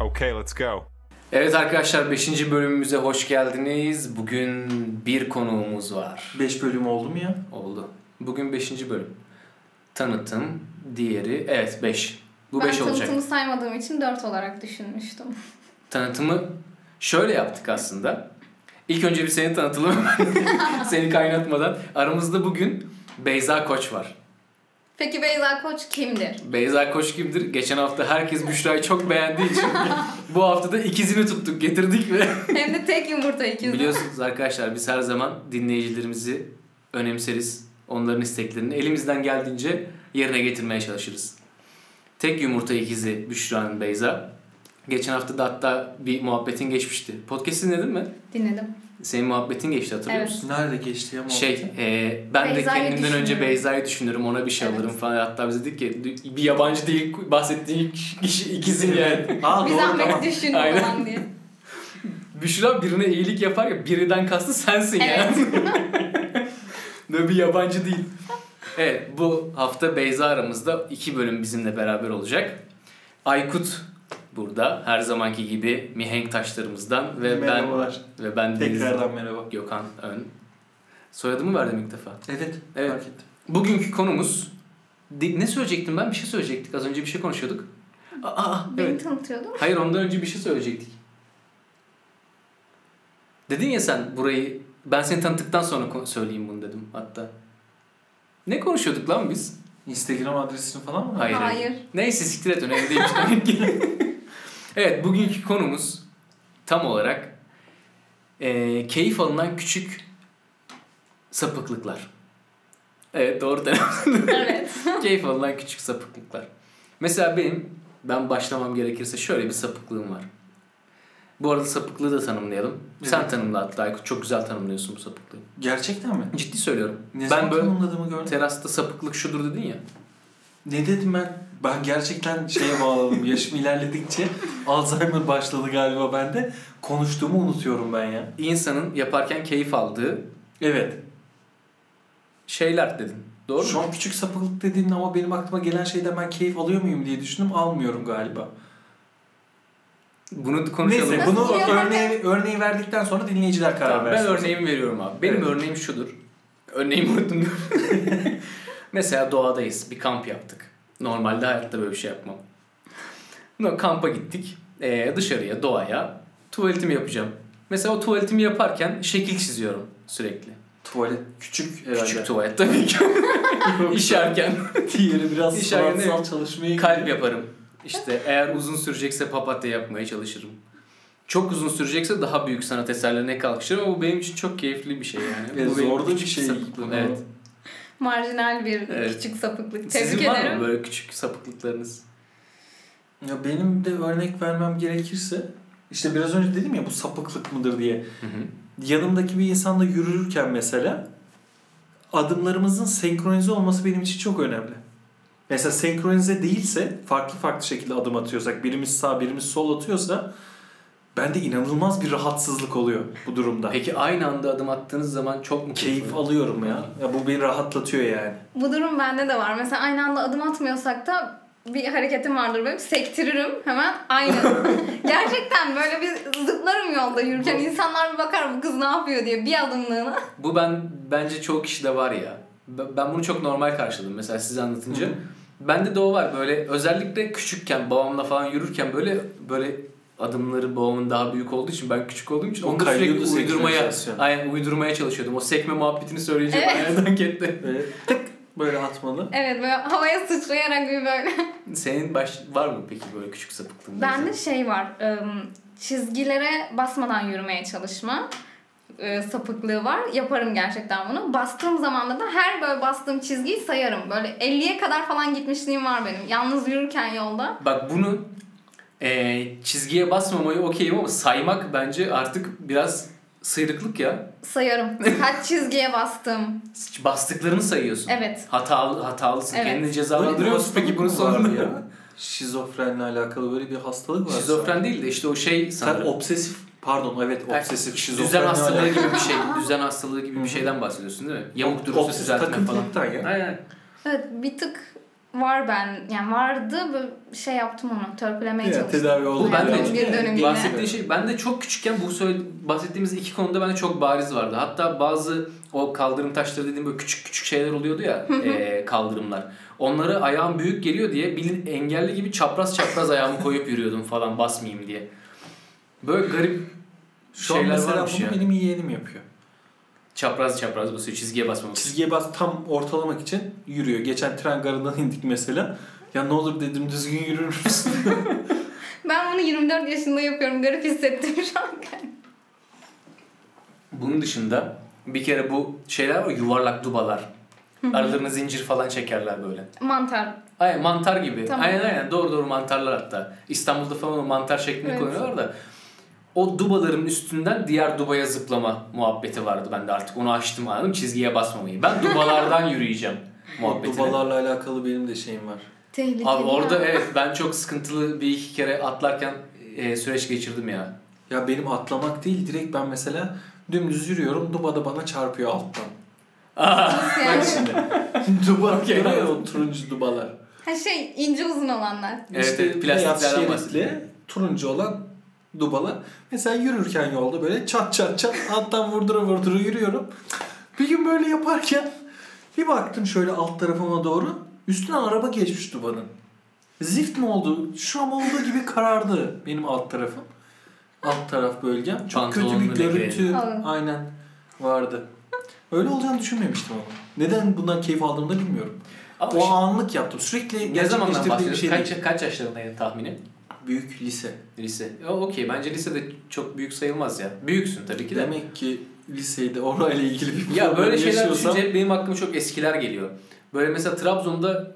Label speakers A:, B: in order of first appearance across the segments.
A: Okay, let's go.
B: Evet arkadaşlar 5. bölümümüze hoş geldiniz. Bugün bir konuğumuz var.
C: 5 bölüm oldu mu ya?
B: Oldu. Bugün 5. bölüm. Tanıtım, diğeri evet 5. Bu 5
D: ben
B: olacak.
D: tanıtımı saymadığım için 4 olarak düşünmüştüm.
B: Tanıtımı şöyle yaptık aslında. İlk önce bir seni tanıtalım. seni kaynatmadan. Aramızda bugün Beyza Koç var.
D: Peki Beyza Koç kimdir?
B: Beyza Koç kimdir? Geçen hafta herkes Büşra'yı çok beğendiği için bu hafta da ikizini tuttuk getirdik ve
D: Hem de tek yumurta ikizi.
B: biliyorsunuz arkadaşlar biz her zaman dinleyicilerimizi önemseriz. Onların isteklerini elimizden geldiğince yerine getirmeye çalışırız. Tek yumurta ikizi Büşra'nın Beyza. Geçen hafta da hatta bir muhabbetin geçmişti. Podcast'i dinledin mi?
D: Dinledim.
B: Senin muhabbetin geçti hatırlıyor
D: Evet.
B: musun?
C: Nerede geçti ya muhabbeti?
B: Şey, e, ben de
D: Beyza'yı
B: kendimden önce
D: düşünüyorum.
B: Beyza'yı düşünürüm, ona bir şey
D: Evet.
B: alırım falan. Hatta biz dedik ki bir yabancı değil, bahsettiğin kişi ikizin yani.
C: Aa
D: Bir
C: doğru
D: zahmet
C: tamam.
D: düşünün
B: Aynen.
D: falan diye.
B: Büşra birine iyilik yapar ya, birinden kastı sensin
D: Evet.
B: yani. Böyle bir yabancı değil. Evet, bu hafta Beyza aramızda iki bölüm bizimle beraber olacak. Aykut burada her zamanki gibi mihenk taşlarımızdan ve
C: Merhabalar.
B: ben ve ben Deniz
C: Tekrardan merhaba.
B: Gökhan Ön. Soyadımı verdim ilk defa.
C: Evet,
B: Evet.
C: fark ettim.
B: Bugünkü konumuz Di- ne söyleyecektim ben? Bir şey söyleyecektik. Az önce bir şey konuşuyorduk. Aa, Aa,
D: Beni
B: evet.
D: tanıtıyordum.
B: Hayır ondan önce bir şey söyleyecektik. Dedin ya sen burayı ben seni tanıttıktan sonra ko- söyleyeyim bunu dedim hatta. Ne konuşuyorduk lan biz?
C: Instagram adresini falan mı?
B: Hayır.
D: Hayır.
B: Neyse siktir et önemli değilmiş demek ki. evet bugünkü konumuz tam olarak eee, keyif alınan küçük sapıklıklar. Evet doğru telaffuz
D: evet.
B: Keyif alınan küçük sapıklıklar. Mesela benim, ben başlamam gerekirse şöyle bir sapıklığım var. Bu arada sapıklığı da tanımlayalım. Sen
C: Evet.
B: tanımla hatta Aykut. Çok güzel tanımlıyorsun bu sapıklığı.
C: Gerçekten mi?
B: Ciddi söylüyorum.
C: Ne
B: ben
C: ben
B: böyle
C: tanımladığımı gördüm.
B: terasta sapıklık şudur dedin ya.
C: ne dedim ben? Ben gerçekten şeye bağladım. Yaşım ilerledikçe Alzheimer başladı galiba bende. Konuştuğumu unutuyorum ben ya.
B: İnsanın yaparken keyif aldığı
C: Evet.
B: şeyler dedin. Doğru
C: Şu
B: mu?
C: an küçük sapıklık dediğin ama benim aklıma gelen şeyden ben keyif alıyor muyum diye düşündüm. Almıyorum galiba.
B: Bunu konuşalım.
C: Neyse
D: Nasıl
C: bunu
D: diyor?
C: örneği, örneği verdikten sonra dinleyiciler karar
B: Tamam, ben
C: versin.
B: örneğimi veriyorum abi. Benim
C: Evet.
B: örneğim şudur. Örneğimi unuttum. Mesela doğadayız. Bir kamp yaptık. Normalde hayatta böyle bir şey yapmam. No, kampa gittik. Ee, dışarıya, doğaya. Tuvaletimi yapacağım. Mesela o tuvaletimi yaparken şekil çiziyorum sürekli.
C: Tuvalet küçük
B: Küçük tuvalet tabii ki. İşerken
C: Diğeri biraz
B: İş yerine-
C: sanatsal çalışmaya
B: kalp
C: gidiyor.
B: yaparım. İşte eğer uzun sürecekse papatya yapmaya çalışırım. Çok uzun sürecekse daha büyük sanat eserlerine kalkışırım ama bu benim için çok keyifli bir şey yani.
C: Ve
B: bu benim
C: zorlu bir
B: küçük
C: şey.
B: sapıklığım,
C: Bunu-
B: Evet.
D: Marjinal bir
B: Evet.
D: küçük sapıklık. Tebrik
B: Sizin var
D: ederim.
B: mı böyle küçük sapıklıklarınız?
C: Ya benim de örnek vermem gerekirse işte biraz önce dedim ya bu sapıklık mıdır diye. Yanımdaki bir insanla yürürken mesela adımlarımızın senkronize olması benim için çok önemli. Mesela senkronize değilse farklı farklı şekilde adım atıyorsak birimiz sağ birimiz sol atıyorsa bende inanılmaz bir rahatsızlık oluyor bu durumda.
B: Peki aynı anda adım attığınız zaman çok mu
C: Keyif
B: alıyor?
C: alıyorum ya. ya. Bu beni rahatlatıyor yani.
D: Bu durum bende de var. Mesela aynı anda adım atmıyorsak da bir hareketim vardır benim. Sektiririm hemen aynı. Gerçekten böyle bir zıplarım yolda yürürken.
B: Bu-
D: insanlar bir bakar bu kız ne yapıyor diye bir adımlığına.
B: Bu ben bence çoğu kişide var ya. B- Ben bunu çok normal karşıladım mesela size anlatınca.
C: Hı.
B: Bende de o var böyle özellikle küçükken babamla falan yürürken böyle böyle adımları babamın daha büyük olduğu için ben küçük olduğum için
C: O
B: onu da
C: kayıyordu
B: sürekli uydurmaya
C: senkronizasyon.
B: aynen uydurmaya çalışıyordum. O sekme muhabbetini söyleyince
D: Evet.
B: ben nereden gitti?
C: Böyle tık böyle atmalı.
D: Evet böyle havaya sıçrayarak bir böyle.
B: Senin baş var mı peki böyle küçük sapıklığın?
D: Bende şey var. ım, Çizgilere basmadan yürümeye çalışma ıı, sapıklığı var. Yaparım gerçekten bunu. Bastığım zaman da her böyle bastığım çizgiyi sayarım. Böyle 50'ye kadar falan gitmişliğim var benim. Yalnız yürürken yolda.
B: Bak bunu e, çizgiye basmamayı okeyim ama saymak bence artık biraz sıyrıklık ya.
D: Sayarım. Kaç çizgiye bastım.
B: Bastıklarını sayıyorsun.
D: Evet.
B: Hatalı, hatalısın.
D: Evet.
B: Kendini cezalandırıyor musun peki bunun
C: sorunu
B: sonunda?
C: ya. Şizofrenle alakalı böyle bir hastalık var.
B: Şizofren değil de işte o şey
C: Sen
B: sanırım.
C: obsesif pardon evet obsesif şizofren.
B: Düzen hastalığı gibi bir şey. Düzen hastalığı gibi bir şeyden bahsediyorsun değil mi? Yamuk durursa
C: Obsesif
B: düzeltme falan.
C: takıntılıktan ya.
B: Aynen.
D: Evet bir tık var ben yani vardı böyle şey yaptım onu törpülemeye
C: Evet,
D: çalıştım.
C: tedavi oldu.
B: Bu ben de
D: Hayatımın bir döneminde.
B: bahsettiğin şey ben de çok küçükken bu söyle, bahsettiğimiz iki konuda bende çok bariz vardı. Hatta bazı o kaldırım taşları dediğim böyle küçük küçük şeyler oluyordu ya eee, kaldırımlar. Onları ayağım büyük geliyor diye bilin engelli gibi çapraz çapraz ayağımı koyup yürüyordum falan basmayayım diye. Böyle garip
C: Şu an
B: şeyler
C: mesela
B: varmış
C: bunu
B: ya.
C: benim yeğenim yapıyor.
B: çapraz çapraz basıyor çizgiye basmamız.
C: Çizgiye bas tam ortalamak için yürüyor. Geçen tren garından indik mesela. Ya ne olur dedim düzgün yürür müsün?
D: Ben bunu 24 yaşında yapıyorum. Garip hissettim şu an.
B: Bunun dışında bir kere bu şeyler var yuvarlak dubalar. Aralarına zincir falan çekerler böyle.
D: Mantar.
B: Aynen mantar gibi.
D: Tamam.
B: Aynen aynen doğru doğru mantarlar hatta. İstanbul'da falan o mantar şeklinde
D: Evet.
B: koyuyorlar da. O dubaların üstünden diğer dubaya zıplama muhabbeti vardı bende artık. Onu açtım anladım çizgiye basmamayı. Ben dubalardan yürüyeceğim muhabbetine.
C: Dubalarla alakalı benim de şeyim var.
D: Tehlikeli.
B: Abi orada
D: ya.
B: evet ben çok sıkıntılı bir iki kere atlarken e, süreç geçirdim ya.
C: Ya benim atlamak değil direkt ben mesela dümdüz yürüyorum. Duba da bana çarpıyor alttan.
D: Nasıl yani?
C: Bak şimdi. duba
B: Okey.
C: duruyor ya o turuncu dubalar.
D: Ha şey ince uzun olanlar.
B: Evet,
C: İşte
B: evet,
C: beyaz
B: plastiklerden
C: şeritli,
B: bahsediyorum.
C: turuncu olan dubalar. Mesela yürürken yolda böyle çat çat çat alttan vurdura vurdura yürüyorum. Bir gün böyle yaparken bir baktım şöyle alt tarafıma doğru. Üstüne araba geçmiş dubanın. Zift mi oldu? Şam olduğu gibi karardı benim alt tarafım. Alt taraf bölgem. Çok kötü bir
B: Pantolonunu
C: görüntü.
D: Alın.
C: Aynen vardı. Öyle olacağını düşünmemiştim ama. Neden bundan keyif aldığımı da bilmiyorum.
B: Ama
C: O
B: şey-
C: anlık yaptım. Sürekli
B: ne zamandan
C: gerçekleştirdiğim bir
B: bahsediyoruz?
C: şey değil.
B: kaç, kaç yaşlarındaydın tahmini?
C: Büyük lise.
B: Lise. O, Okey bence lisede çok büyük sayılmaz ya. Büyüksün tabii ki de.
C: Demek ki liseyde orayla ilgili bir
B: Ya
C: problem
B: böyle şeyler
C: yaşıyorsam-
B: düşünce hep benim aklıma çok eskiler geliyor. Böyle mesela Trabzon'da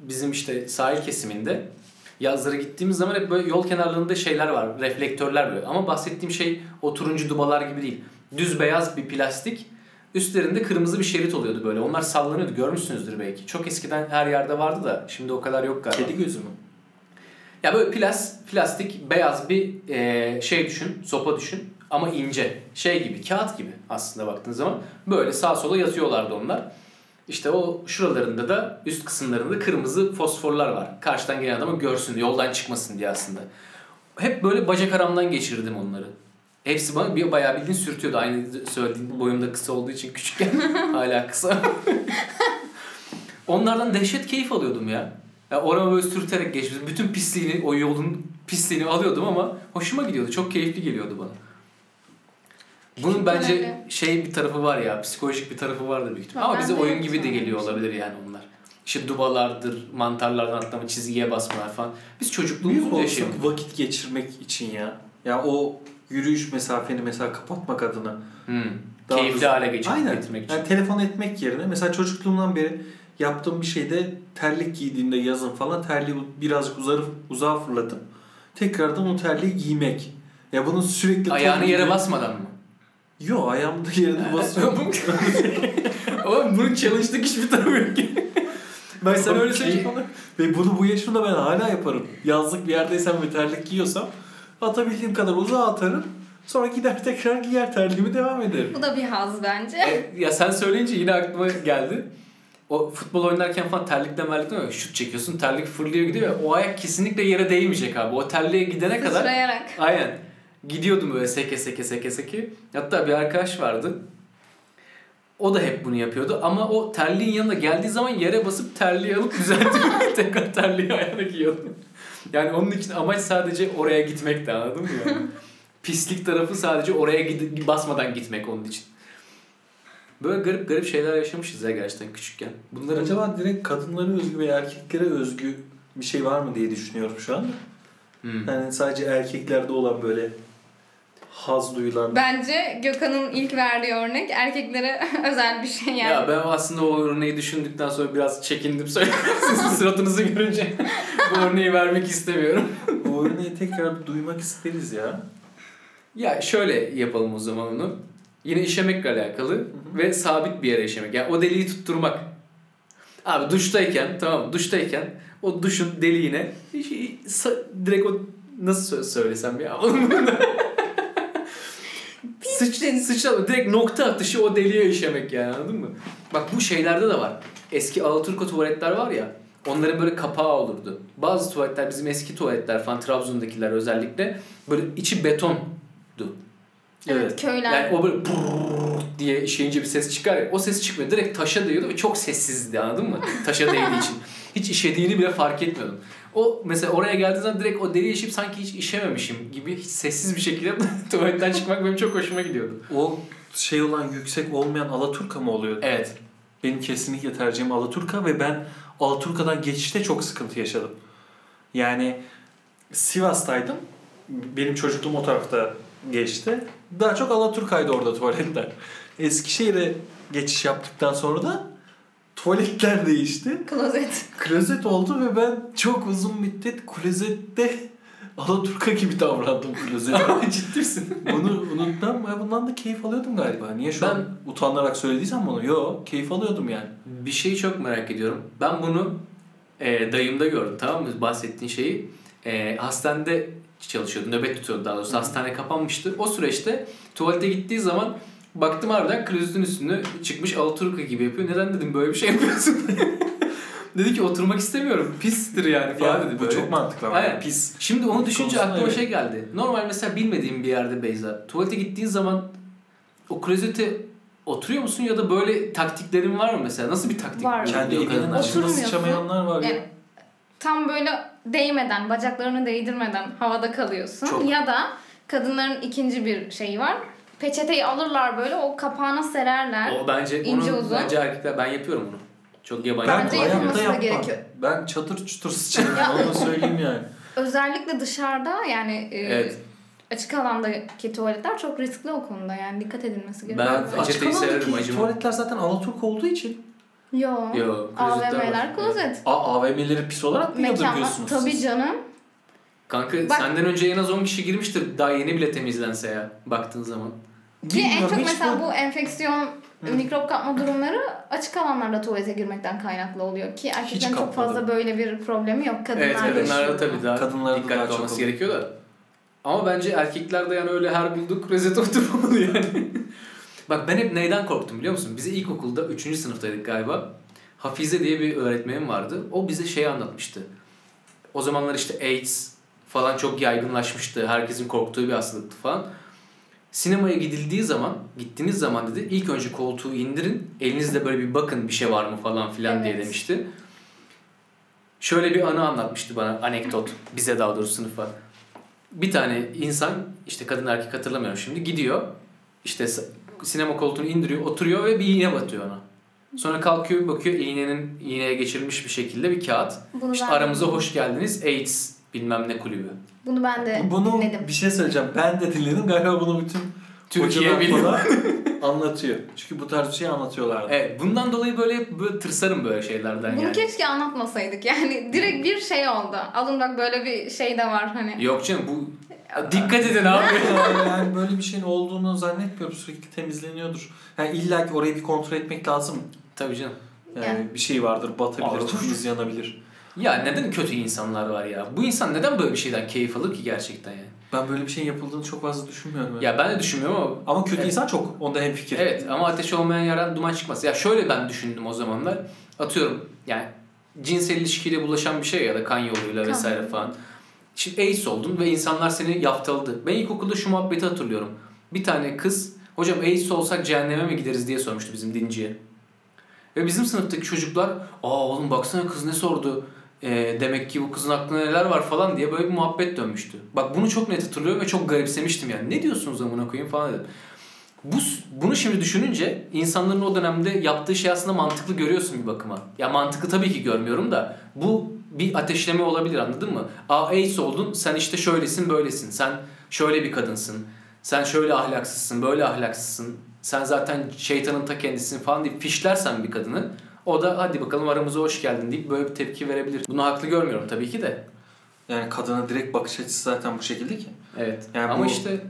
B: bizim işte sahil kesiminde yazlara gittiğimiz zaman hep böyle yol kenarlarında şeyler var. Reflektörler böyle. Ama bahsettiğim şey o turuncu dubalar gibi değil. Düz beyaz bir plastik. Üstlerinde kırmızı bir şerit oluyordu böyle. Onlar sallanıyordu. Görmüşsünüzdür belki. Çok eskiden her yerde vardı da şimdi o kadar yok galiba.
C: Kedi gözü mü?
B: Ya böyle plas, plastik beyaz bir e, şey düşün, sopa düşün ama ince. Şey gibi, kağıt gibi aslında baktığın zaman. Böyle sağa sola yatıyorlardı onlar. İşte o şuralarında da üst kısımlarında kırmızı fosforlar var. Karşıdan gelen adamı görsün, yoldan çıkmasın diye aslında. Hep böyle bacak aramdan geçirdim onları. Hepsi bana bir bayağı bildiğin sürtüyordu. Aynı söylediğin boyumda kısa olduğu için küçükken hala kısa. Onlardan dehşet keyif alıyordum ya. ya orama böyle sürterek geçmiş. Bütün pisliğini, o yolun pisliğini alıyordum ama hoşuma gidiyordu. Çok keyifli geliyordu bana. Bunun bence
D: Öyle.
B: şey bir tarafı var ya, psikolojik bir tarafı vardı büyük ihtimal. Ama
D: Ben
B: bize
D: de
B: oyun
D: yok
B: gibi de
D: sanırım.
B: geliyor olabilir yani onlar. İşte dubalardır, mantarlardan atlama, çizgiye basmalar falan. Biz
C: Büyük
B: çocukluğumuzu
C: olsun
B: yaşıyoruz.
C: vakit geçirmek için ya. Ya o yürüyüş mesafeni mesela kapatmak adına.
B: Hmm.
C: Daha
B: Keyifli
C: hızlı-
B: hale geçirmek
C: Aynen.
B: getirmek için.
C: Yani telefon etmek yerine mesela çocukluğumdan beri yaptığım bir şeyde terlik giydiğimde yazın falan terliği birazcık uzarı, uzağa fırlatıp tekrardan o terliği giymek. Ya bunun sürekli...
B: Ayağını
C: Tabii-
B: yere basmadan mı?
C: Yok ayağımda yerine basıyorum.
B: Oğlum bunun challenge'lık hiçbir tarafı yok ki. Ben sana öyle
C: şey-
B: söyleyeyim.
C: Ve bunu bu yaşımda ben hala yaparım. Yazlık bir yerdeysem ve terlik giyiyorsam atabildiğim kadar uzağa atarım. Sonra gider tekrar giyer terliğimi devam ederim.
D: Bu da bir haz bence.
B: E, ya sen söyleyince yine aklıma geldi. O futbol oynarken falan terlikle merlikle öyle şut çekiyorsun terlik fırlıyor gidiyor ya, o ayak kesinlikle yere değmeyecek abi. O terliğe gidene kadar
D: Sıçrayarak.
B: aynen gidiyordum böyle seke seke seke seke. Hatta bir arkadaş vardı. O da hep bunu yapıyordu ama o terliğin yanına geldiği zaman yere basıp terliği alıp düzeltiyor. Tekrar terliği ayağına giyiyordu. Yani onun için amaç sadece oraya gitmekti anladın mı yani? Pislik tarafı sadece oraya gid- basmadan gitmek onun için. Böyle garip garip şeyler yaşamışız ya gerçekten küçükken. Bunları
C: Acaba direkt kadınlara özgü veya erkeklere özgü bir şey var mı diye düşünüyorum şu anda.
B: Hmm.
C: Yani sadece erkeklerde olan böyle haz duyulan.
D: Bence Gökhan'ın ilk verdiği örnek erkeklere özel bir şey yani.
B: Ya ben aslında o örneği düşündükten sonra biraz çekindim söyledim. Sizin suratınızı görünce bu örneği vermek istemiyorum.
C: Bu örneği tekrar bir duymak isteriz ya.
B: Ya şöyle yapalım o zaman onu. Yine işemekle alakalı ve sabit bir yere işemek. Yani o deliği tutturmak. Abi duştayken tamam mı? duştayken o duşun deliğine iş- sa- direkt o nasıl sö- söylesem ya oğlum bunu- Sıç, sıçra, direkt nokta atışı o deliğe işemek yani anladın mı? Bak bu şeylerde de var. Eski Alaturka tuvaletler var ya. Onların böyle kapağı olurdu. Bazı tuvaletler bizim eski tuvaletler falan Trabzon'dakiler özellikle böyle içi betondu.
C: Evet.
D: Köyler.
B: Yani o böyle brrrr diye işeyince bir ses çıkar ya. O ses çıkmıyor. Direkt taşa değiyordu ve çok sessizdi anladın mı? Taşa değdiği için. Hiç işediğini bile fark etmiyordum. O mesela oraya geldiğim zaman direkt o deriye işip sanki hiç işememişim gibi hiç sessiz bir şekilde tuvaletten çıkmak benim çok hoşuma gidiyordu.
C: O şey olan yüksek olmayan Alaturka mı oluyor?
B: Evet.
C: Benim kesinlikle tercihim Alaturka ve ben Alaturka'dan geçişte çok sıkıntı yaşadım. Yani Sivas'taydım. Benim çocukluğum o tarafta geçti. Daha çok Alaturka'ydı orada tuvaletler. Eskişehir'e geçiş yaptıktan sonra da tuvaletler değişti.
D: Klozet.
C: Klozet oldu ve ben çok uzun müddet klozette Alaturka gibi davrandım klozete.
B: Ciddi misin?
C: Bunu unutmam. Ben bundan da keyif alıyordum galiba. Niye şu an utanarak söylediysem bunu? Yo, keyif alıyordum yani.
B: Bir şeyi çok merak ediyorum. Ben bunu e, dayımda gördüm tamam mı? Bahsettiğin şeyi. E, hastanede çalışıyordu. Nöbet tutuyordu daha doğrusu. Hastane kapanmıştı. O süreçte tuvalete gittiği zaman baktım harbiden klozetin üstünü çıkmış Alaturka gibi yapıyor. Neden dedim böyle bir şey yapıyorsun? dedi ki oturmak istemiyorum. Pistir yani falan dedi.
C: bu
B: böyle.
C: çok mantıklı ama.
B: Aynen.
C: Pis.
B: Şimdi onu düşünce
C: Konusunda
B: aklıma
C: evet.
B: şey geldi. Normal mesela bilmediğim bir yerde Beyza. Tuvalete gittiğin zaman o klozete oturuyor musun ya da böyle taktiklerin var mı mesela? Nasıl bir taktik?
D: Var.
B: uyguluyor
C: Kendi evinin
B: kadınlar?
C: açığına
D: Oturmuyorsun.
C: sıçamayanlar var ya.
D: Yani tam böyle değmeden, bacaklarını değdirmeden havada kalıyorsun.
B: Çok.
D: Ya da kadınların ikinci bir şeyi var. Peçeteyi alırlar böyle o kapağına sererler.
B: O bence
D: İnce
B: onu
D: uzun.
B: bence erkekler ben yapıyorum bunu. Çok yabancı.
C: Ben hayatta
D: Bence yapılması da
C: yapmam.
D: gerekiyor.
C: Ben çatır çutur sıçarım. Onu söyleyeyim yani.
D: Özellikle dışarıda yani e,
B: Evet.
D: açık alandaki tuvaletler çok riskli o konuda yani dikkat edilmesi şey.
B: Ben-
D: gerekiyor.
B: Peçeteyi
C: Açık alandaki
B: severim, acımam.
C: Tuvaletler zaten Alaturk olduğu için.
D: Yo.
B: Yo, klozetler var.
D: AVM'ler klozet.
C: A, AVM'leri pis olarak mı
D: Mekanlar
C: yadırgıyorsunuz
D: tabii
C: siz?
D: canım.
B: Kanka
D: Bak-
B: senden önce en az 10 kişi girmiştir. Daha yeni bile temizlense ya baktığın zaman.
D: Ki en
C: Bilmiyorum,
D: çok
C: hiç
D: mesela
C: bu-
D: bu enfeksiyon mikrop kapma durumları açık alanlarda tuvalete girmekten kaynaklı oluyor ki erkeklerin çok
C: kapmadım.
D: fazla böyle bir problemi yok kadınlar.
B: Evet kadınlarda tabii daha
C: Kadınlarda
B: dikkatli
C: daha çok
B: olması
C: oluyor.
B: gerekiyor da. Ama bence erkeklerde yani öyle her bulduk klozete oturmamalı yani. Bak ben hep neyden korktum biliyor musun? Bize ilkokulda 3. sınıftaydık galiba. Hafize diye bir öğretmenim vardı. O bize şey anlatmıştı. O zamanlar işte AIDS falan çok yaygınlaşmıştı. Herkesin korktuğu bir hastalıktı falan. Sinemaya gidildiği zaman, gittiğiniz zaman dedi ilk önce koltuğu indirin. Elinizle böyle bir bakın bir şey var mı falan filan diye
D: Evet.
B: demişti. Şöyle bir anı anlatmıştı bana anekdot bize daha doğrusu sınıfa. Bir tane insan işte kadın erkek hatırlamıyorum şimdi gidiyor. İşte s- sinema koltuğunu indiriyor, oturuyor ve bir iğne batıyor ona. Sonra kalkıyor bir bakıyor iğnenin iğneye geçirilmiş bir şekilde bir kağıt.
D: Bunu
B: İşte
D: ben,
B: aramıza hoş geldiniz AIDS bilmem ne kulübü.
D: bunu ben de
C: Bunu
D: dinledim.
C: bir şey söyleyeceğim. Ben de dinledim. Galiba bunu bütün
B: Türkiye
C: hocalar
B: biliyor.
C: falan anlatıyor. Çünkü bu tarz bir şey anlatıyorlardı.
B: Evet bundan dolayı böyle hep böyle tırsarım böyle şeylerden
D: Bunu
B: yani.
D: keşke anlatmasaydık
C: Hmm.
D: yani direkt bir şey oldu. Alın bak böyle bir şey de var hani.
B: Yok canım bu dikkat edin abi.
C: yani böyle bir şeyin olduğunu zannetmiyorum. Sürekli temizleniyordur. Yani illa ki orayı bir kontrol etmek lazım.
B: Tabii canım.
C: Yani
D: Yani.
C: bir şey vardır, batabilir,
B: Ağır.
C: tuzumuz yanabilir.
B: Ya neden kötü insanlar var ya? Bu insan neden böyle bir şeyden keyif alır ki gerçekten yani?
C: Ben böyle bir şeyin yapıldığını çok fazla düşünmüyorum. yani.
B: Ya ben de düşünmüyorum ama
C: Ama kötü
B: Evet.
C: insan çok. Onda hemfikir.
B: Evet ama ateş olmayan yerden duman çıkmaz. Ya şöyle ben düşündüm o zamanlar. Atıyorum yani cinsel ilişkiyle bulaşan bir şey ya da kan yoluyla
D: Kan.
B: vesaire falan. Şimdi AIDS oldun ve insanlar seni yaftaladı. Ben ilkokulda şu muhabbeti hatırlıyorum. Bir tane kız hocam AIDS olsak cehenneme mi gideriz diye sormuştu bizim dinciye. Ve bizim sınıftaki çocuklar aa oğlum baksana kız ne sordu. Ee, demek ki bu kızın aklında neler var falan diye böyle bir muhabbet dönmüştü. Bak bunu çok net hatırlıyorum ve çok garipsemiştim yani. Ne diyorsunuz amına koyayım falan dedim. Bu, bunu şimdi düşününce insanların o dönemde yaptığı şey aslında mantıklı görüyorsun bir bakıma. Ya mantıklı tabii ki görmüyorum da bu bir ateşleme olabilir anladın mı? Aa AIDS oldun sen işte şöylesin böylesin sen şöyle bir kadınsın sen şöyle ahlaksızsın böyle ahlaksızsın sen zaten şeytanın ta kendisisin falan deyip fişlersen bir kadını o da hadi bakalım aramıza hoş geldin deyip böyle bir tepki verebilir. Bunu haklı görmüyorum tabii ki de.
C: Yani kadına direkt bakış açısı zaten bu şekilde ki.
B: Evet.
C: Yani
B: Ama
C: bu-
B: işte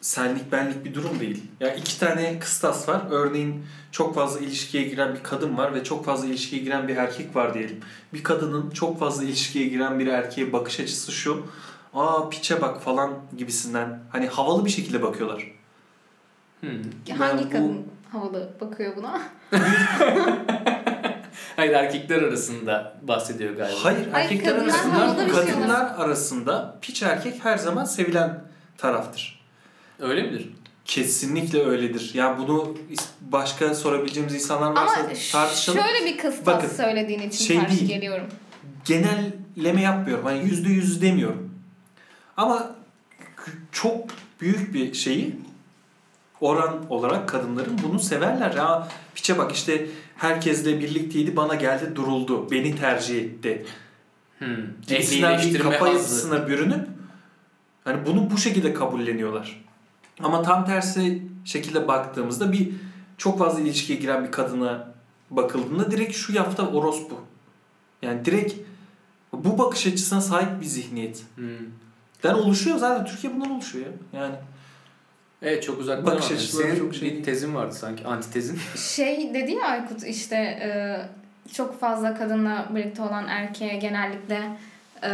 C: senlik benlik bir durum değil. Ya iki tane kıstas var. Örneğin çok fazla ilişkiye giren bir kadın var ve çok fazla ilişkiye giren bir erkek var diyelim. Bir kadının çok fazla ilişkiye giren bir erkeğe bakış açısı şu. Aa piçe bak falan gibisinden. Hani havalı bir şekilde bakıyorlar.
B: hmm.
C: Ben
D: Hangi
C: bu-
D: kadın havalı bakıyor buna?
B: Hayır, Hayır erkekler arasında bahsediyor galiba.
C: Hayır,
D: Hayır,
C: erkekler
D: kadınlar
C: arasında
D: havada bir şey
C: kadınlar
D: var.
C: arasında piç erkek her zaman sevilen taraftır.
B: Öyle midir?
C: Kesinlikle öyledir. Ya bunu is- başka sorabileceğimiz insanlar varsa
D: Ama
C: tartışalım.
D: şöyle bir kıstas
C: Bakın,
D: söylediğin için
C: şey
D: karşı
C: değil.
D: geliyorum.
C: Genelleme yapmıyorum. Hani yüzde yüz demiyorum. Ama k- çok büyük bir şeyi oran olarak kadınların bunu severler. Ya piçe bak işte herkesle birlikteydi bana geldi duruldu. Beni tercih etti.
B: Hmm.
C: gibisinden bir
B: Ehlileştirme
C: kafa
B: hazzı.
C: yapısına bürünüp hani bunu bu şekilde kabulleniyorlar. Ama tam tersi şekilde baktığımızda bir çok fazla ilişkiye giren bir kadına bakıldığında direkt şu yafta orospu. Yani direkt bu bakış açısına sahip bir zihniyetten
B: Hmm.
C: oluşuyor zaten Türkiye bundan oluşuyor ya. Yani
B: Evet çok uzak
C: Bakış
B: duramam.
C: açıları
B: Senin
C: çok şey
B: bir
C: değil.
B: tezin vardı sanki antitezin.
D: Şey dedi ya Aykut işte e, çok fazla kadınla birlikte olan erkeğe genellikle e,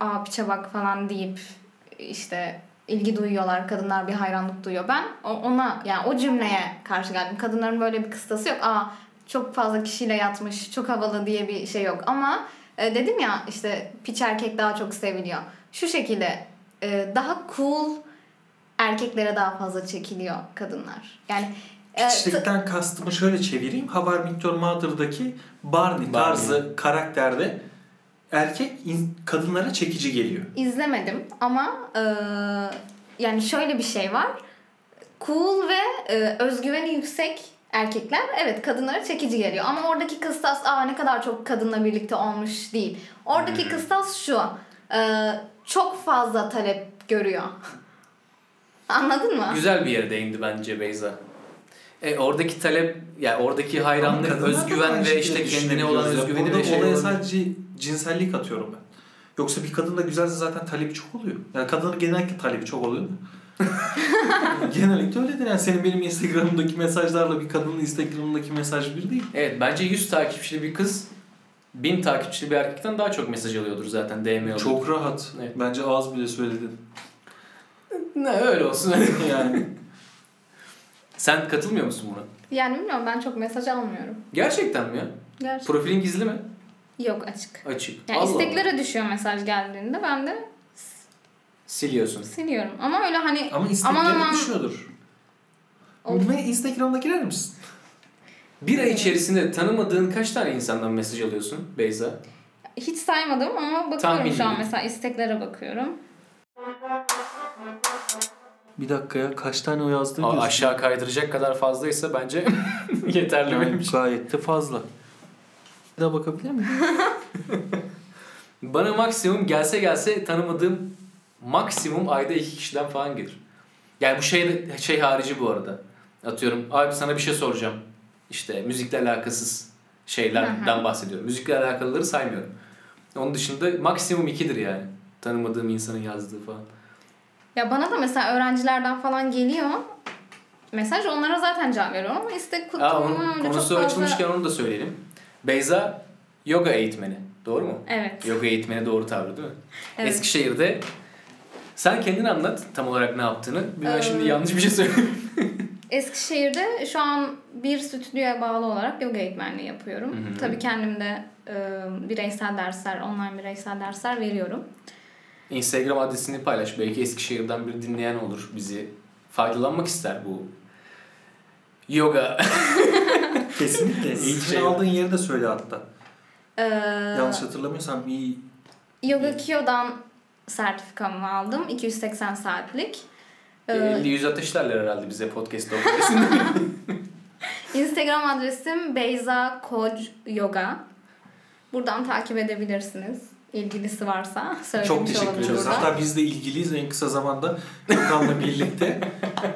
D: aa piçe bak falan deyip işte ilgi duyuyorlar. Kadınlar bir hayranlık duyuyor. Ben o- ona yani o cümleye karşı geldim. Kadınların böyle bir kıstası yok. Aa çok fazla kişiyle yatmış, çok havalı diye bir şey yok. Ama e, dedim ya işte piç erkek daha çok seviliyor. Şu şekilde e, daha cool erkeklere daha fazla çekiliyor kadınlar. Yani e,
C: piçlikten kastımı şöyle çevireyim. Havar Victor Mather'daki Barney
B: Barney.
C: tarzı karakterde erkek in- kadınlara çekici geliyor.
D: İzlemedim ama e, yani şöyle bir şey var. Cool ve e, özgüveni yüksek erkekler evet kadınlara çekici geliyor. Ama oradaki kıstas aa ne kadar çok kadınla birlikte olmuş değil. Oradaki
B: Hmm.
D: kıstas şu. e, çok fazla talep görüyor. Anladın mı?
B: Güzel bir yere değindi bence Beyza. E, oradaki talep, yani oradaki hayranlık,
C: Kadınlar da aynı
B: özgüven ve
C: şekilde
B: işte kendine
C: düşünebiliyoruz
B: olan
C: ya.
B: özgüveni
C: Burada
B: ve şey
C: olaya
B: olabilir.
C: sadece cinsellik atıyorum ben. Yoksa bir kadın da güzelse zaten talebi çok oluyor. Yani kadının genellikle talebi çok oluyor. genellikle öyledir. Yani senin benim Instagram'daki mesajlarla bir kadının Instagram'daki mesaj bir değil.
B: Evet bence 100 takipçili bir kız 1000 takipçili bir erkekten daha çok mesaj alıyordur zaten DM alıyordur.
C: Çok rahat.
B: Evet.
C: Bence az bile söyledin.
B: Ne öyle olsun.
C: Yani
B: Sen katılmıyor musun buna?
D: Yani bilmiyorum ben çok mesaj almıyorum.
B: Gerçekten mi ya?
D: Gerçi
B: Profilin gizli mi?
D: yok açık.
B: Açık.
D: Yani
B: Allah
D: isteklere düşüyor mesaj geldiğinde ben de
B: Allah. Siliyorsun.
D: siliyorum. Ama öyle hani
C: ama
D: Aman,
C: istekleri
D: aman.
C: düşüyordur.
D: Olur.
C: Ve Instagram'da girer misin?
B: Bir ay içerisinde tanımadığın kaç tane insandan mesaj alıyorsun Beyza?
D: Hiç saymadım ama bakıyorum
B: Tahmin
D: şu an
B: edin.
D: mesela isteklere bakıyorum.
C: Bir dakika ya kaç tane o yazdığı
B: Aa,
C: gözüküyor.
B: aşağı kaydıracak kadar fazlaysa bence yeterli
C: Yani
B: benim için.
C: gayet de fazla. Bir daha bakabilir miyim?
B: Bana maksimum gelse gelse tanımadığım maksimum ayda iki kişiden falan gelir. Yani bu şey şey harici bu arada. Atıyorum abi sana bir şey soracağım. İşte müzikle alakasız
D: Hı
B: şeylerden bahsediyorum. Müzikle alakalıları saymıyorum. Onun dışında maksimum ikidir yani. Tanımadığım insanın yazdığı falan.
D: Ya bana da mesela öğrencilerden falan geliyor. Mesaj onlara zaten cevap veriyorum ama istek
B: Aa,
D: kutuma
B: onun
D: öyle çok
B: konusu
D: fazla...
B: açılmışken onu da söyleyelim. Beyza yoga eğitmeni. Doğru mu?
D: Evet.
B: Yoga eğitmeni doğru tavrı değil mi?
D: Evet.
B: Eskişehir'de sen kendin anlat tam olarak ne yaptığını. Ben
D: Ee,
B: şimdi yanlış bir şey söyleyeyim.
D: Eskişehir'de şu an bir stüdyoya bağlı olarak yoga eğitmenliği yapıyorum.
B: Hı hı.
D: Tabii kendim de e, bireysel dersler, online bireysel dersler veriyorum.
B: Instagram adresini paylaş. Belki Eskişehir'den bir dinleyen olur bizi. Faydalanmak ister bu yoga.
C: Kesinlikle.
B: Şey-
C: Eğitimini aldığın yeri de söyle hatta.
D: Ee,
C: Yanlış hatırlamıyorsam iyi.
D: yoga Kyo'dan sertifikamı aldım. 280 saatlik. Ee,
B: 50-100 ateşlerler herhalde bize podcast ortasında.
D: Instagram adresim Beyza Koc Yoga. Buradan takip edebilirsiniz. İlgilisi varsa söylemiş
C: Çok teşekkür
D: olalım
C: ediyoruz.
D: burada.
C: Hatta biz de ilgiliyiz en kısa zamanda Gökhan'la birlikte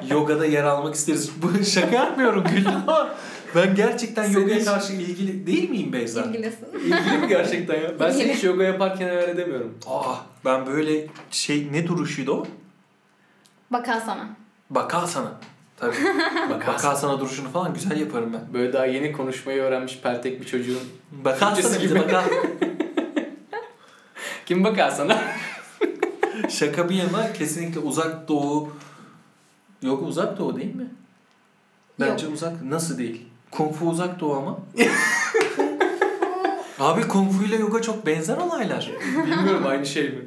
C: yogada yer almak isteriz. Bu şaka yapmıyorum Gülüm ama ben gerçekten
B: Senin
C: yogaya
B: hiç-
C: karşı ilgili değil miyim Beyza?
D: İlgilisi.
B: İlgili mi gerçekten ya? Ben seni hiç yoga yaparken hayal edemiyorum.
C: Aa, Ah, ben böyle şey ne duruşuydu o?
D: Bakar sana.
C: Bakal sana. Tabii.
B: Bak
C: Bakal sana duruşunu falan güzel yaparım ben.
B: Böyle daha yeni konuşmayı öğrenmiş peltek bir çocuğun.
C: Bakal
B: Türkçesi
C: sana bir de
B: gibi.
C: bakal.
B: Kim bakar sana?
C: Şaka bir yana kesinlikle uzak doğu yok uzak doğu değil mi? Bence uzak nasıl değil? Kung fu uzak doğu ama. Abi kung fu ile yoga çok benzer olaylar.
B: Bilmiyorum aynı şey mi?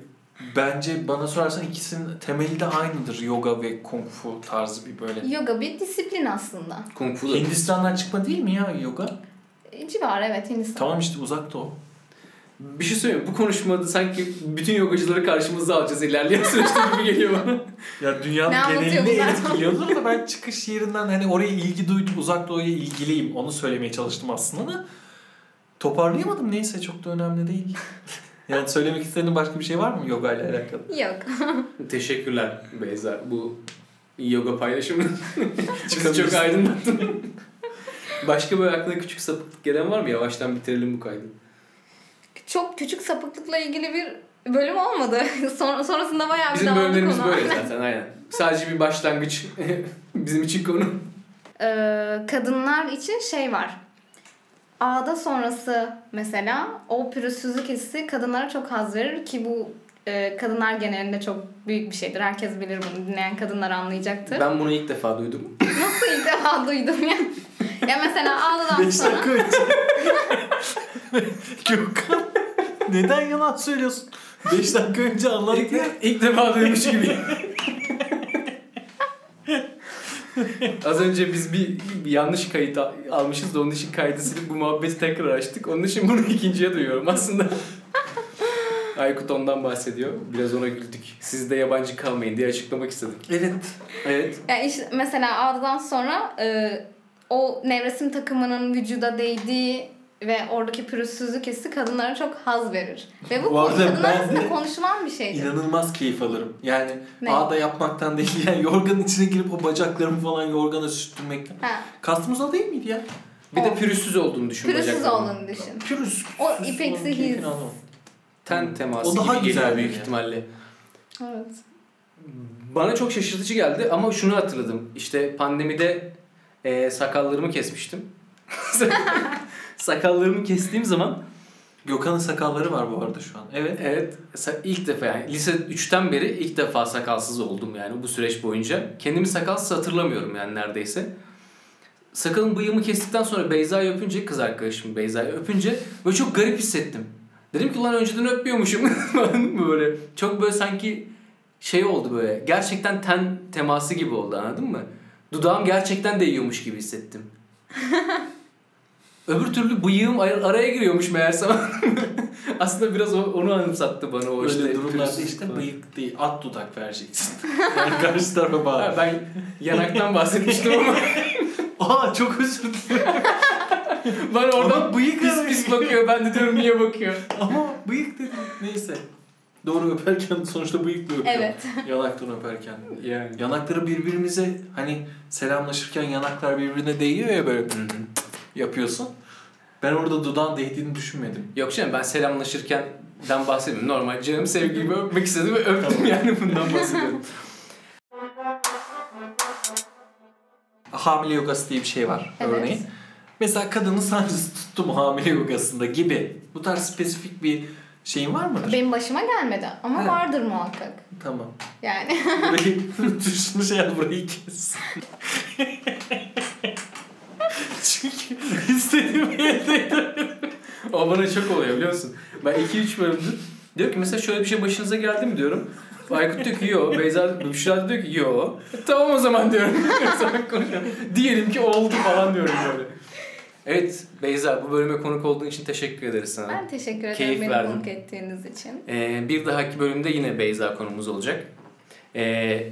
C: Bence bana sorarsan ikisinin temeli de aynıdır. Yoga ve kung fu tarzı bir böyle.
D: Yoga bir disiplin aslında.
B: Kung Fu da
C: Hindistan'dan çıkma değil mi ya yoga?
D: E, Civar evet Hindistan.
C: Tamam işte uzak doğu.
B: Bir şey söyleyeyim mi? bu konuşmada sanki bütün yogacıları karşımıza alacağız ilerleyen süreçte gibi geliyor bana.
C: Ya dünyanın
D: Ne anlatıyor
C: genelini
D: bunlar?
C: etkiliyordur da ben çıkış yerinden hani oraya ilgi duydum, uzak doğuya ilgiliyim. Onu söylemeye çalıştım aslında da toparlayamadım. Neyse çok da önemli değil. yani söylemek istediğin başka bir şey var mı yoga ile alakalı?
D: Yok.
B: Teşekkürler Beyza bu yoga paylaşımı. Bizi çok
C: Çıkabilirsin.
B: aydınlattın. Başka böyle aklına küçük sapıklık gelen var mı? Yavaştan bitirelim bu kaydı.
D: Çok küçük sapıklıkla ilgili bir bölüm olmadı. Son- sonrasında bayağı bir
B: Bizim
D: dağıldık
B: bölümlerimiz
D: ona.
B: böyle zaten aynen. Sadece bir başlangıç bizim için konu.
D: Ee, kadınlar için şey var. Ağda sonrası mesela o pürüzsüzlük hissi kadınlara çok haz verir ki bu e, kadınlar genelinde çok büyük bir şeydir. Herkes bilir bunu. Dinleyen kadınlar anlayacaktır.
B: Ben bunu ilk defa duydum.
D: Nasıl ilk defa duydum ya? ya mesela ağdadan
C: Beş
D: sonra
C: dakika için. Gökhan neden yalan söylüyorsun? 5 dakika önce anlattık ya.
B: ilk defa duymuş gibi. Az önce biz bir, bir yanlış kayıt al- almışız da onun için kaydı silip bu muhabbeti tekrar açtık. Onun için bunu ikinciye duyuyorum aslında. Aykut ondan bahsediyor. Biraz ona güldük. Siz de yabancı kalmayın diye açıklamak istedim.
C: Evet.
B: Evet.
D: ya işte mesela ağdadan sonra e, o nevresim takımının vücuda değdiği ve oradaki pürüzsüzlük hissi kadınlara çok haz verir. Ve bu,
C: Bu arada
D: kadınlar
C: ben
D: arasında
C: de
D: konuşulan bir şeydir.
C: İnanılmaz keyif alırım. Yani
D: Ne?
C: ağda yapmaktan değil yani yorganın içine girip o bacaklarımı falan yorgana sürtünmekten.
D: Ha.
C: Kastımız o değil miydi ya?
B: Bir de
D: O.
B: pürüzsüz olduğunu düşün.
D: Pürüzsüz
B: bacaklarının.
D: olduğunu düşün.
C: Pürüz.
D: O
C: pürüzsüz
D: ipeksi
C: olan keyfini
D: his.
C: alamam.
B: Ten teması
C: O daha
B: gibi geliyor
C: güzel
B: büyük
C: yani.
B: ihtimalle.
D: Evet.
B: Bana çok şaşırtıcı geldi ama şunu hatırladım. İşte pandemide e, sakallarımı kesmiştim. sakallarımı kestiğim zaman
C: Gökhan'ın sakalları var bu arada şu an. Evet.
B: evet sa- ilk defa yani lise 3'ten beri ilk defa sakalsız oldum yani bu süreç boyunca. Kendimi sakalsız hatırlamıyorum yani neredeyse. Sakalın bıyığımı kestikten sonra Beyza'yı öpünce kız arkadaşım Beyza'yı öpünce böyle çok garip hissettim. Dedim ki ulan önceden öpmüyormuşum Anladın mı böyle. Çok böyle sanki şey oldu böyle. Gerçekten ten teması gibi oldu anladın mı? Dudağım gerçekten değiyormuş gibi hissettim. Öbür türlü bıyığım ar- araya giriyormuş meğerse. Aslında biraz o- onu anımsattı bana o
C: Böyle
B: işte.
C: durumlarda
B: pürüzsüzlük
C: işte
B: falan.
C: bıyık değil at dudak vereceksin. yani karşı tarafa
B: Ha,
C: bağır.
B: ben yanaktan bahsetmiştim ama
C: Aa çok özür dilerim.
B: bana oradan
C: Ama bıyık
B: pis
C: araya
B: pis bakıyor. Ben de diyorum niye bakıyor.
C: Ama bıyık dedim. Neyse. Doğru öperken sonuçta bıyıkla öpüyorum.
D: Evet.
C: Yanaktan öperken.
B: Yani.
C: Yanakları birbirimize hani selamlaşırken yanaklar birbirine değiyor ya böyle yapıyorsun. Ben orada dudağın değdiğini düşünmedim.
B: Yok canım ben selamlaşırken den bahsetmiyorum. Normal canım sevgilimi öpmek istedim ve öptüm yani bundan bahsediyorum.
C: Hamile yogası diye bir şey var
D: Evet.
C: örneğin. Mesela kadının sancısı tuttu mu hamile yogasında gibi. Bu tarz spesifik bir şeyin var mıdır?
D: Benim başıma gelmedi ama
C: Ha.
D: vardır muhakkak.
C: tamam.
D: Yani
C: Burayı düşünmüş ya burayı kes. Çünkü istediğim yerde
B: O bana çok oluyor biliyor musun? Ben 2-3 bölümdür diyor ki mesela şöyle bir şey başınıza geldi mi diyorum. Aykut diyor ki yo. Beyza Büşra da diyor ki yo. E, Tamam o zaman diyorum. Sonra konuşuyorum. Diyelim ki oldu falan diyorum böyle. Evet Beyza bu bölüme konuk olduğun için teşekkür ederiz sana.
D: ben teşekkür ederim
B: Keyif
D: beni
B: verdim.
D: konuk ettiğiniz için.
B: Ee, bir dahaki bölümde yine Beyza konumuz olacak. Ee,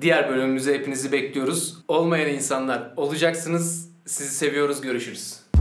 B: diğer bölümümüze hepinizi bekliyoruz. Olmayan insanlar olacaksınız. Sizi seviyoruz. Görüşürüz.